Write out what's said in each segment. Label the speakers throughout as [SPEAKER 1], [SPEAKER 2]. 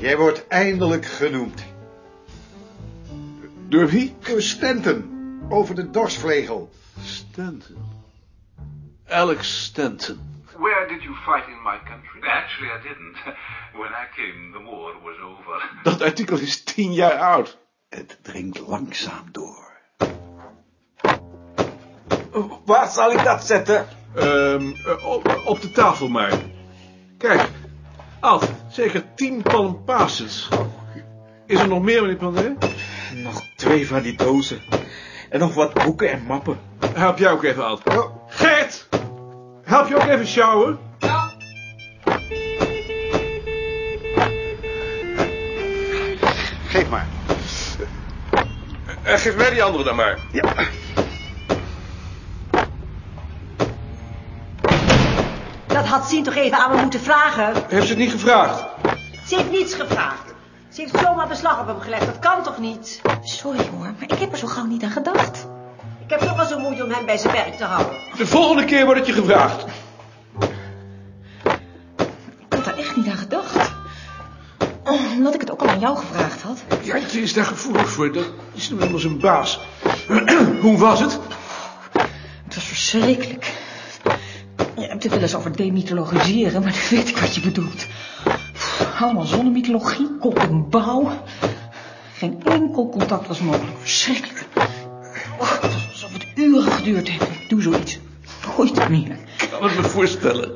[SPEAKER 1] Hij wordt eindelijk genoemd.
[SPEAKER 2] Door wie?
[SPEAKER 1] Door Stanton, over de dorsvlegel.
[SPEAKER 2] Stanton. Alex Stanton.
[SPEAKER 3] Where did you fight in my country? Actually, I didn't. When I came, the war was over.
[SPEAKER 2] Dat artikel is tien jaar oud.
[SPEAKER 4] Het dringt langzaam door.
[SPEAKER 5] Waar zal ik dat zetten?
[SPEAKER 2] Ehm, eh, op, op de tafel maar. Kijk, Alf, zeker tien palmpases. Is er nog meer, meneer Pandé?
[SPEAKER 4] Nog twee van die dozen. En nog wat boeken en mappen.
[SPEAKER 2] Help jij ook even, Alf. Gert! Help je ook even sjouwen?
[SPEAKER 1] Geef maar.
[SPEAKER 2] Eh, geef mij die andere dan maar.
[SPEAKER 1] Ja.
[SPEAKER 6] Dat had Sien toch even aan me moeten vragen?
[SPEAKER 2] Heeft ze het niet gevraagd?
[SPEAKER 6] Ze heeft niets gevraagd. Ze heeft zomaar beslag op hem gelegd. Dat kan toch niet?
[SPEAKER 7] Sorry hoor, maar ik heb er zo gauw niet aan gedacht.
[SPEAKER 6] Ik heb toch wel zo moeite om hem bij zijn werk te houden.
[SPEAKER 2] De volgende keer wordt het je gevraagd.
[SPEAKER 7] Ik had er echt niet aan gedacht. Oh, omdat ik het ook al aan jou gevraagd had.
[SPEAKER 2] Jantje is daar gevoelig voor. Dat is nu helemaal zijn baas. Hoe was het?
[SPEAKER 7] Het was verschrikkelijk. Je hebt het wel eens over demythologiseren, maar nu weet ik wat je bedoelt. Pff, Allemaal zonnemythologie, kop en bouw. Geen enkel contact was mogelijk. Verschrikkelijk. Oh, het was alsof het uren geduurd heeft. Ik doe zoiets. Nooit meer.
[SPEAKER 2] Ik kan het me voorstellen.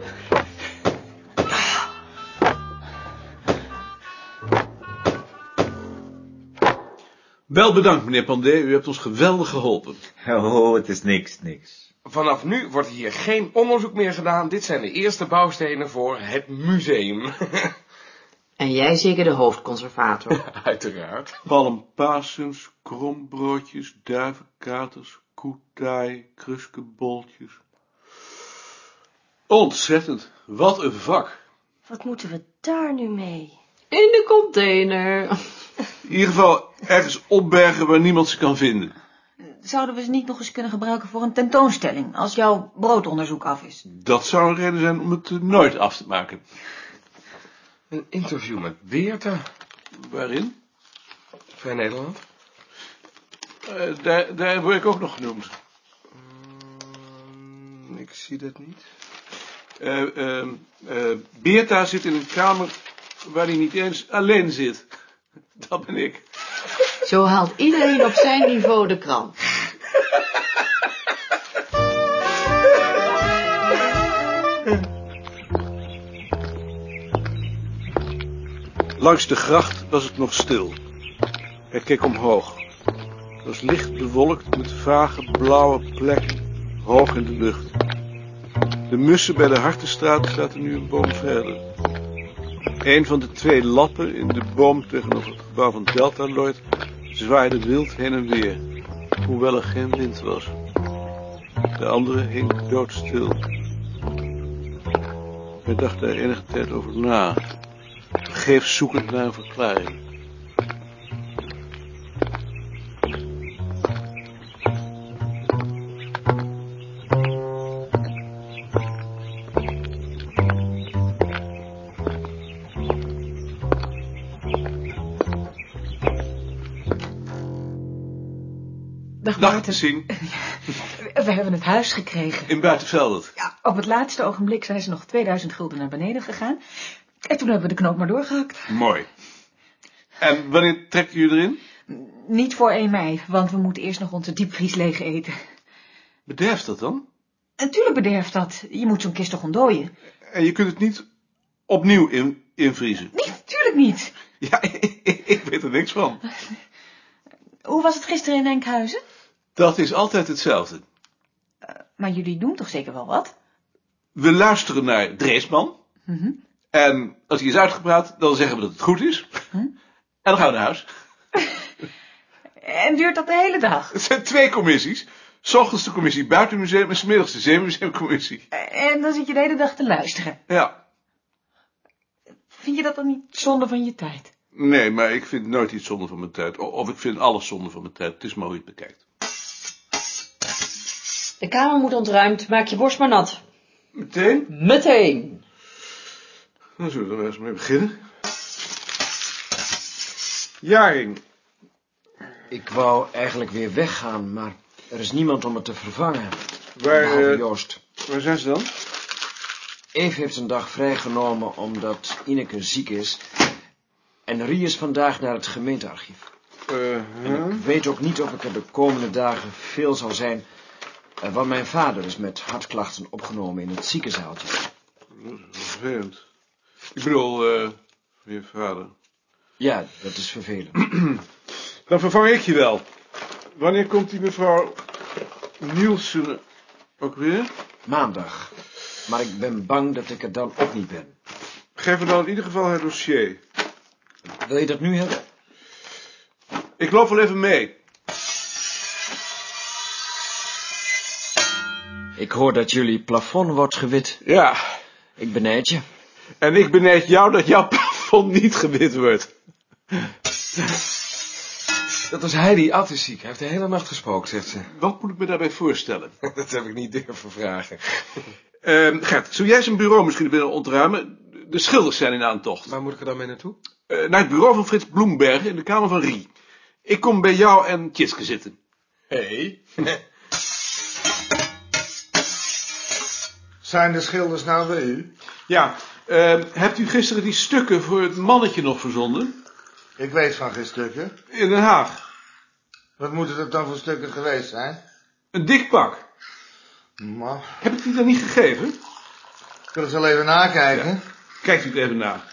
[SPEAKER 2] Wel bedankt, meneer Pandé. U hebt ons geweldig geholpen.
[SPEAKER 4] Oh, het is niks, niks.
[SPEAKER 8] Vanaf nu wordt hier geen onderzoek meer gedaan. Dit zijn de eerste bouwstenen voor het museum.
[SPEAKER 9] En jij zeker de hoofdconservator.
[SPEAKER 8] Uiteraard.
[SPEAKER 2] Palmpasens, krombroodjes, duivenkaters, koetaai, kruskeboltjes. Ontzettend. Wat een vak.
[SPEAKER 10] Wat moeten we daar nu mee?
[SPEAKER 9] In de container.
[SPEAKER 2] In ieder geval ergens opbergen waar niemand ze kan vinden.
[SPEAKER 7] Zouden we ze niet nog eens kunnen gebruiken voor een tentoonstelling, als jouw broodonderzoek af is?
[SPEAKER 2] Dat zou een reden zijn om het eh, nooit af te maken.
[SPEAKER 8] Een interview met Beerta.
[SPEAKER 2] Waarin?
[SPEAKER 8] Vrij Nederland.
[SPEAKER 2] Eh, daar, daar word ik ook nog genoemd.
[SPEAKER 8] Mm, Ik zie dat niet.
[SPEAKER 2] Eh, ehm, eh, Beerta zit in een kamer waar hij niet eens alleen zit. Dat ben ik.
[SPEAKER 9] Zo haalt iedereen op zijn niveau de krant.
[SPEAKER 2] Langs de gracht was het nog stil. Hij keek omhoog. Het was licht bewolkt met vage blauwe plekken, hoog in de lucht. De mussen bij de Hartenstraat zaten nu een boom verder. Een van de twee lappen in de boom tegenover het gebouw van Deltaloid zwaaide wild heen en weer, hoewel er geen wind was. De andere hing doodstil. Hij dacht daar enige tijd over na geef zoekend naar een verklaring.
[SPEAKER 7] Dag,
[SPEAKER 2] Dag te zien
[SPEAKER 7] We hebben het huis gekregen.
[SPEAKER 2] in Buitenveldert.
[SPEAKER 7] Ja, op het laatste ogenblik zijn ze nog 2000 gulden naar beneden gegaan. En toen hebben we de knoop maar doorgehakt.
[SPEAKER 2] Mooi. En wanneer trekken jullie erin?
[SPEAKER 7] Niet voor 1 mei, want we moeten eerst nog onze diepvries leeg eten.
[SPEAKER 2] Bederft dat dan?
[SPEAKER 7] Natuurlijk bederft dat. Je moet zo'n kist toch ontdooien?
[SPEAKER 2] En je kunt het niet opnieuw in, invriezen.
[SPEAKER 7] Nee, natuurlijk niet.
[SPEAKER 2] Ja, ik weet er niks van.
[SPEAKER 7] Hoe was het gisteren in Enkhuizen?
[SPEAKER 2] Dat is altijd hetzelfde.
[SPEAKER 7] Maar jullie doen toch zeker wel wat?
[SPEAKER 2] We luisteren naar Dreesman.
[SPEAKER 7] Mhm.
[SPEAKER 2] En als hij is uitgepraat, dan zeggen we dat het goed is. En dan gaan we naar huis.
[SPEAKER 7] En duurt dat de hele dag?
[SPEAKER 2] Het zijn twee commissies. S ochtends de commissie buitenmuseum en smiddags de zeemuseumcommissie.
[SPEAKER 7] En dan zit je de hele dag te luisteren.
[SPEAKER 2] Ja.
[SPEAKER 7] Vind je dat dan niet zonde van je tijd?
[SPEAKER 2] Nee, maar ik vind nooit iets zonde van mijn tijd. O- Of ik vind alles zonde van mijn tijd. Het is maar hoe je het bekijkt.
[SPEAKER 9] De kamer moet ontruimd. Maak je borst maar nat.
[SPEAKER 2] Meteen?
[SPEAKER 9] Meteen.
[SPEAKER 2] Dan zullen we er maar eens mee beginnen. Jaring.
[SPEAKER 11] Ik wou eigenlijk weer weggaan, maar er is niemand om het te vervangen.
[SPEAKER 2] Waar,
[SPEAKER 11] behalve
[SPEAKER 2] eh,
[SPEAKER 11] Joost.
[SPEAKER 2] Waar zijn ze dan?
[SPEAKER 11] Eve heeft een dag vrijgenomen omdat Ineke ziek is. En Rie is vandaag naar het gemeentearchief.
[SPEAKER 2] Uh-huh.
[SPEAKER 11] En ik weet ook niet of ik er de komende dagen veel zal zijn. eh, Want mijn vader is met hartklachten opgenomen in het ziekenzaaltje.
[SPEAKER 2] Vervelend. Ik bedoel, eh, je vader.
[SPEAKER 11] Ja, dat is vervelend.
[SPEAKER 2] Dan vervang ik je wel. Wanneer komt die mevrouw Nielsen ook weer?
[SPEAKER 11] Maandag. Maar ik ben bang dat ik er dan ook niet ben.
[SPEAKER 2] Geef me dan in ieder geval haar dossier.
[SPEAKER 11] Wil je dat nu hebben?
[SPEAKER 2] Ik loop wel even mee.
[SPEAKER 11] Ik hoor dat jullie plafond wordt gewit.
[SPEAKER 2] Ja.
[SPEAKER 11] Ik benijd je.
[SPEAKER 2] En ik benijd jou dat jouw plafond niet gewit wordt.
[SPEAKER 8] Dat is Heidi Ad is ziek. Hij heeft de hele nacht gespookt, zegt ze.
[SPEAKER 2] Wat moet ik me daarbij voorstellen?
[SPEAKER 8] Dat heb ik niet durven vragen.
[SPEAKER 2] Ehm Gert, zou jij zijn bureau misschien willen ontruimen? De schilders zijn in aantocht.
[SPEAKER 8] Waar moet ik er dan mee naartoe?
[SPEAKER 2] Eh, naar het bureau van Frits Bloemberg in de kamer van Rie. Ik kom bij jou en Tjitske zitten.
[SPEAKER 8] Hé.
[SPEAKER 1] Zijn de schilders nou bij u?
[SPEAKER 2] Ja, ehm, hebt u gisteren die stukken voor het mannetje nog verzonden?
[SPEAKER 1] Ik weet van geen stukken.
[SPEAKER 2] In Den Haag.
[SPEAKER 1] Wat moeten dat dan voor stukken geweest zijn?
[SPEAKER 2] Een dik pak.
[SPEAKER 1] Maar,
[SPEAKER 2] Heb ik die dan niet gegeven?
[SPEAKER 1] kunnen ze wel even nakijken?
[SPEAKER 2] Kijkt u het even na.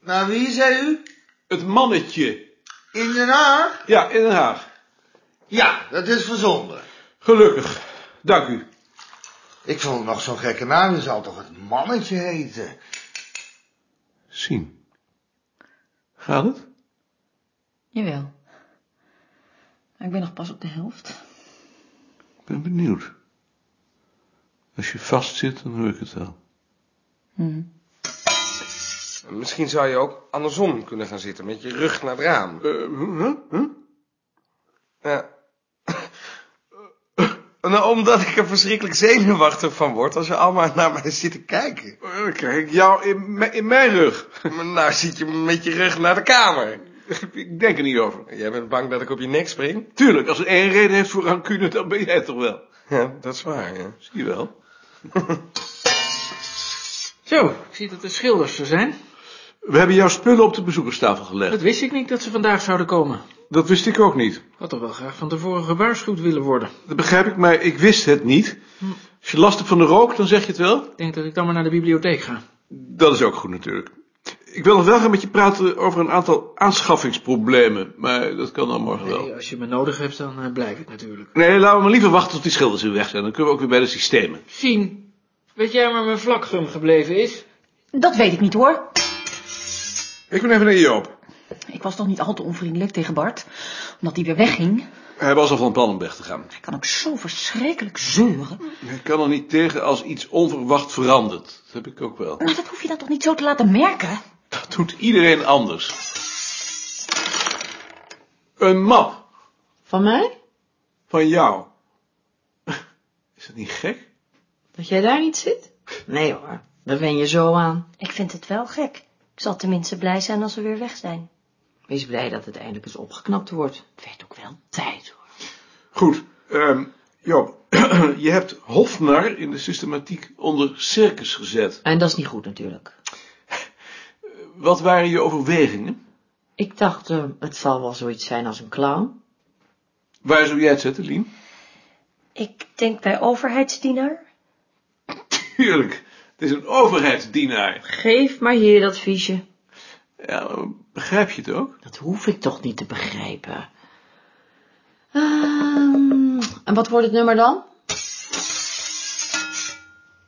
[SPEAKER 1] Naar Nou, wie zei u?
[SPEAKER 2] Het mannetje.
[SPEAKER 1] In Den Haag?
[SPEAKER 2] Ja, in Den Haag.
[SPEAKER 1] Ja, dat is verzonden.
[SPEAKER 2] Gelukkig. Dank u.
[SPEAKER 1] Ik vond nog zo'n gekke naam. Je zal toch het mannetje heten?
[SPEAKER 2] Zien. Gaat het?
[SPEAKER 7] Jawel. Maar ik ben nog pas op de helft.
[SPEAKER 2] Ik ben benieuwd. Als je vast zit, dan hoor ik het wel.
[SPEAKER 7] Hm.
[SPEAKER 8] Misschien zou je ook andersom kunnen gaan zitten, met je rug naar het raam.
[SPEAKER 2] huh? Huh?
[SPEAKER 8] Ja. Nou, omdat ik er verschrikkelijk zenuwachtig van word als ze allemaal naar mij zitten kijken.
[SPEAKER 2] Eh, Dan krijg ik jou in, mijn- in mijn rug.
[SPEAKER 8] Maar nou zit je met je rug naar de kamer.
[SPEAKER 2] ik denk er niet over.
[SPEAKER 8] Jij bent bang dat ik op je nek spring?
[SPEAKER 2] Tuurlijk, als er één reden heeft voor rancune, dan ben jij het toch wel.
[SPEAKER 8] Ja, dat is waar, ja.
[SPEAKER 2] Zie je wel.
[SPEAKER 12] Zo, ik zie dat de schilders er zijn.
[SPEAKER 2] We hebben jouw spullen op de bezoekerstafel gelegd.
[SPEAKER 12] Dat wist ik niet dat ze vandaag zouden komen.
[SPEAKER 2] Dat wist ik ook niet.
[SPEAKER 12] Ik had toch wel graag van tevoren gewaarschuwd willen worden.
[SPEAKER 2] Dat begrijp ik, maar ik wist het niet. Als je last hebt van de rook, dan zeg je het wel.
[SPEAKER 12] Ik denk dat ik dan maar naar de bibliotheek ga.
[SPEAKER 2] Dat is ook goed natuurlijk. Ik wil nog wel gaan met je praten over een aantal aanschaffingsproblemen. Maar dat kan dan morgen wel.
[SPEAKER 12] Nee, als je me nodig hebt, dan eh, blijf ik natuurlijk.
[SPEAKER 2] Nee, laten we maar liever wachten tot die schilders weer weg zijn. Dan kunnen we ook weer bij de systemen.
[SPEAKER 12] Sien, weet jij waar mijn vlakgum gebleven is?
[SPEAKER 7] Dat weet ik niet hoor.
[SPEAKER 2] Ik ben even naar Joop.
[SPEAKER 7] Ik was toch niet al te onvriendelijk tegen Bart. Omdat hij weer wegging.
[SPEAKER 2] Hij was al van plan om weg te gaan.
[SPEAKER 7] Hij kan ook zo verschrikkelijk zeuren.
[SPEAKER 2] Ik kan er niet tegen als iets onverwacht verandert. Dat heb ik ook wel.
[SPEAKER 7] Maar dat hoef je dan toch niet zo te laten merken?
[SPEAKER 2] Dat doet iedereen anders. Een map
[SPEAKER 9] Van mij?
[SPEAKER 2] van jou. Is dat niet gek?
[SPEAKER 9] Dat jij daar niet zit? Nee hoor, daar wen je zo aan.
[SPEAKER 10] Ik vind het wel gek. Ik zal tenminste blij zijn als we weer weg zijn.
[SPEAKER 9] Wees blij dat het eindelijk eens opgeknapt wordt. Het werd ook wel tijd hoor.
[SPEAKER 2] Goed, ehm Joop, je hebt Hofnar in de systematiek onder circus gezet.
[SPEAKER 9] En dat is niet goed natuurlijk.
[SPEAKER 2] Wat waren je overwegingen?
[SPEAKER 9] Ik dacht, eh, het zal wel zoiets zijn als een clown.
[SPEAKER 2] Waar zou jij het zetten, Lien?
[SPEAKER 10] Ik denk bij overheidsdienaar.
[SPEAKER 2] Tuurlijk, het is een overheidsdienaar.
[SPEAKER 9] Geef maar hier dat fiche.
[SPEAKER 2] Ja, maar begrijp je het ook?
[SPEAKER 9] Dat hoef ik toch niet te begrijpen. Ehm, en wat wordt het nummer dan?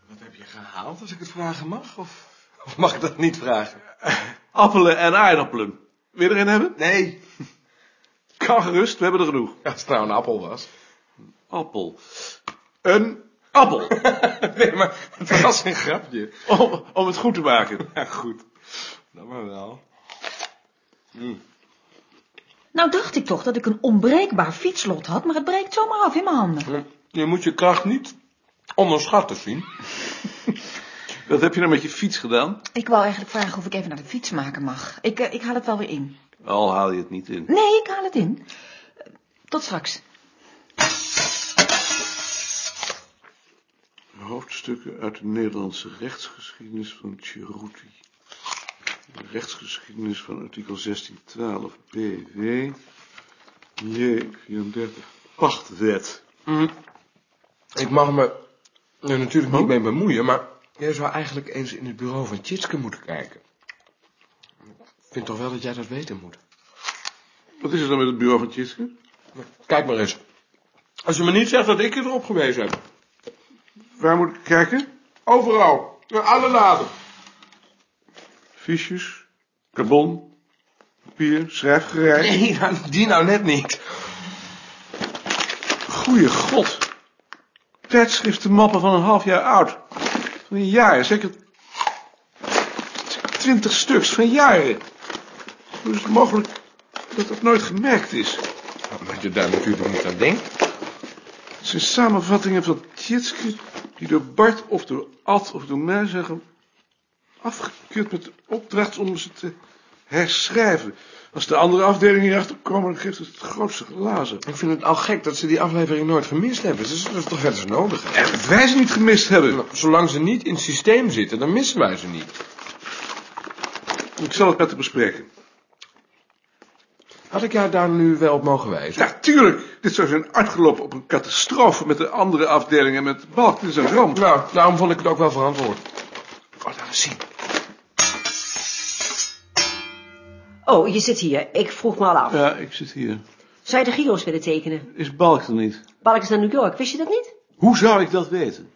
[SPEAKER 8] Wat heb je gehaald, als ik het vragen mag? Of, of mag ik dat niet vragen?
[SPEAKER 2] Appelen en aardappelen. Wil je er een hebben?
[SPEAKER 8] Nee.
[SPEAKER 2] Kan gerust, we hebben er genoeg.
[SPEAKER 8] Als het nou een appel was.
[SPEAKER 2] Appel. Een appel.
[SPEAKER 8] Nee, maar het was een grapje.
[SPEAKER 2] om, om het goed te maken.
[SPEAKER 8] Ja, goed. Dat maar wel.
[SPEAKER 7] Nou dacht ik toch dat ik een onbreekbaar fietslot had, maar het breekt zomaar af in mijn handen.
[SPEAKER 8] Je moet je kracht niet onderschatten, zien.
[SPEAKER 2] Wat heb je nou met je fiets gedaan?
[SPEAKER 7] Ik wou eigenlijk vragen of ik even naar de fietsmaker mag. Ik, eh, ik haal het wel weer in.
[SPEAKER 2] Al haal je het niet in.
[SPEAKER 7] Nee, ik haal het in. Eh, Tot straks.
[SPEAKER 2] Hoofdstukken uit de Nederlandse rechtsgeschiedenis van Cerruti. De rechtsgeschiedenis van artikel 1612 BW. J. 34. Pachtwet.
[SPEAKER 8] Ik mag me er natuurlijk niet mee bemoeien, maar jij zou eigenlijk eens in het bureau van Tjitske moeten kijken. Ik vind toch wel dat jij dat weten moet.
[SPEAKER 2] Wat is er dan met het bureau van Tjitske?
[SPEAKER 8] Kijk maar eens. Als je me niet zegt dat ik je erop gewezen heb.
[SPEAKER 2] Waar moet ik kijken?
[SPEAKER 8] Overal. In alle laden.
[SPEAKER 2] Fiches, carbon, papier, schrijfgerei.
[SPEAKER 8] Nee, nou, die nou net niet.
[SPEAKER 2] Goeie god. Tijdschriftenmappen van een half jaar oud. Van een jaar, zeker twintig stuks van jaren. Hoe is het mogelijk dat dat nooit gemerkt is?
[SPEAKER 8] Omdat je daar natuurlijk niet aan denkt.
[SPEAKER 2] Het zijn samenvattingen van Tjitske die door Bart of door Ad of door mij zeggen afgekeurd met de opdracht om ze te herschrijven. Als de andere afdelingen hierachter komen, dan geeft het het grootste glazen.
[SPEAKER 8] Ik vind het al gek dat ze die aflevering nooit gemist hebben. Ze zullen ze toch wel eens nodig hebben.
[SPEAKER 2] Echt, dat wij ze niet gemist hebben.
[SPEAKER 8] Nou, zolang ze niet in het systeem zitten, dan missen wij ze niet.
[SPEAKER 2] Ik zal het met haar bespreken.
[SPEAKER 8] Had ik jou daar nu wel op mogen wijzen?
[SPEAKER 2] Ja, tuurlijk. Dit zou zijn uitgelopen op een catastrofe met de andere afdelingen en met de balk. Dit is een ramp.
[SPEAKER 8] Nou, daarom vond ik het ook wel verantwoord.
[SPEAKER 2] Oh, laat eens zien.
[SPEAKER 6] Oh, je zit hier. Ik vroeg me al af.
[SPEAKER 2] Ja, ik zit hier.
[SPEAKER 6] Zou je de gyro's willen tekenen?
[SPEAKER 2] Is balk er niet?
[SPEAKER 6] Balk is naar New York, wist je dat niet?
[SPEAKER 2] Hoe zou ik dat weten?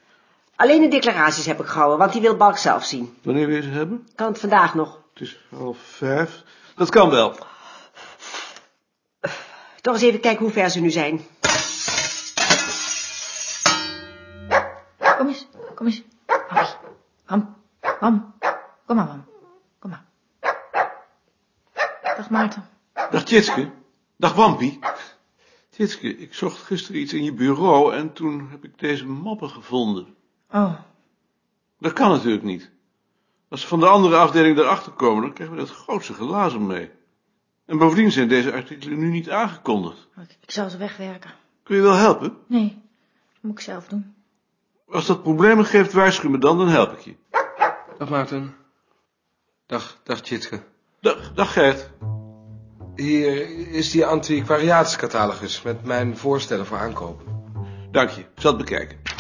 [SPEAKER 6] Alleen de declaraties heb ik gehouden, want die wil Balk zelf zien.
[SPEAKER 2] Wanneer wil je ze hebben?
[SPEAKER 6] Kan het vandaag nog.
[SPEAKER 2] Het is half vijf. Dat kan wel.
[SPEAKER 6] Toch eens even kijken hoe ver ze nu zijn.
[SPEAKER 7] Kom eens, kom eens. Happie. Ham, ham. Kom maar, mam. Kom maar. Dag Maarten.
[SPEAKER 2] Dag Tjitske. Dag Wampie. Tjitske, ik zocht gisteren iets in je bureau en toen heb ik deze mappen gevonden.
[SPEAKER 7] Oh,
[SPEAKER 2] Dat kan natuurlijk niet. Als ze van de andere afdeling daarachter komen, dan krijgen we dat grootste glazen mee. En bovendien zijn deze artikelen nu niet aangekondigd.
[SPEAKER 7] ik, ik zal ze wegwerken.
[SPEAKER 2] Kun je wel helpen?
[SPEAKER 7] Nee, dat moet ik zelf doen.
[SPEAKER 2] Als dat problemen geeft, waarschuw me dan, dan help ik je.
[SPEAKER 8] Dag Maarten. Dag, dag Tjitske.
[SPEAKER 2] Dag, dag Gert.
[SPEAKER 8] Hier is die antiquariaatscatalogus met mijn voorstellen voor aankopen.
[SPEAKER 2] Dank je. Ik zal het bekijken.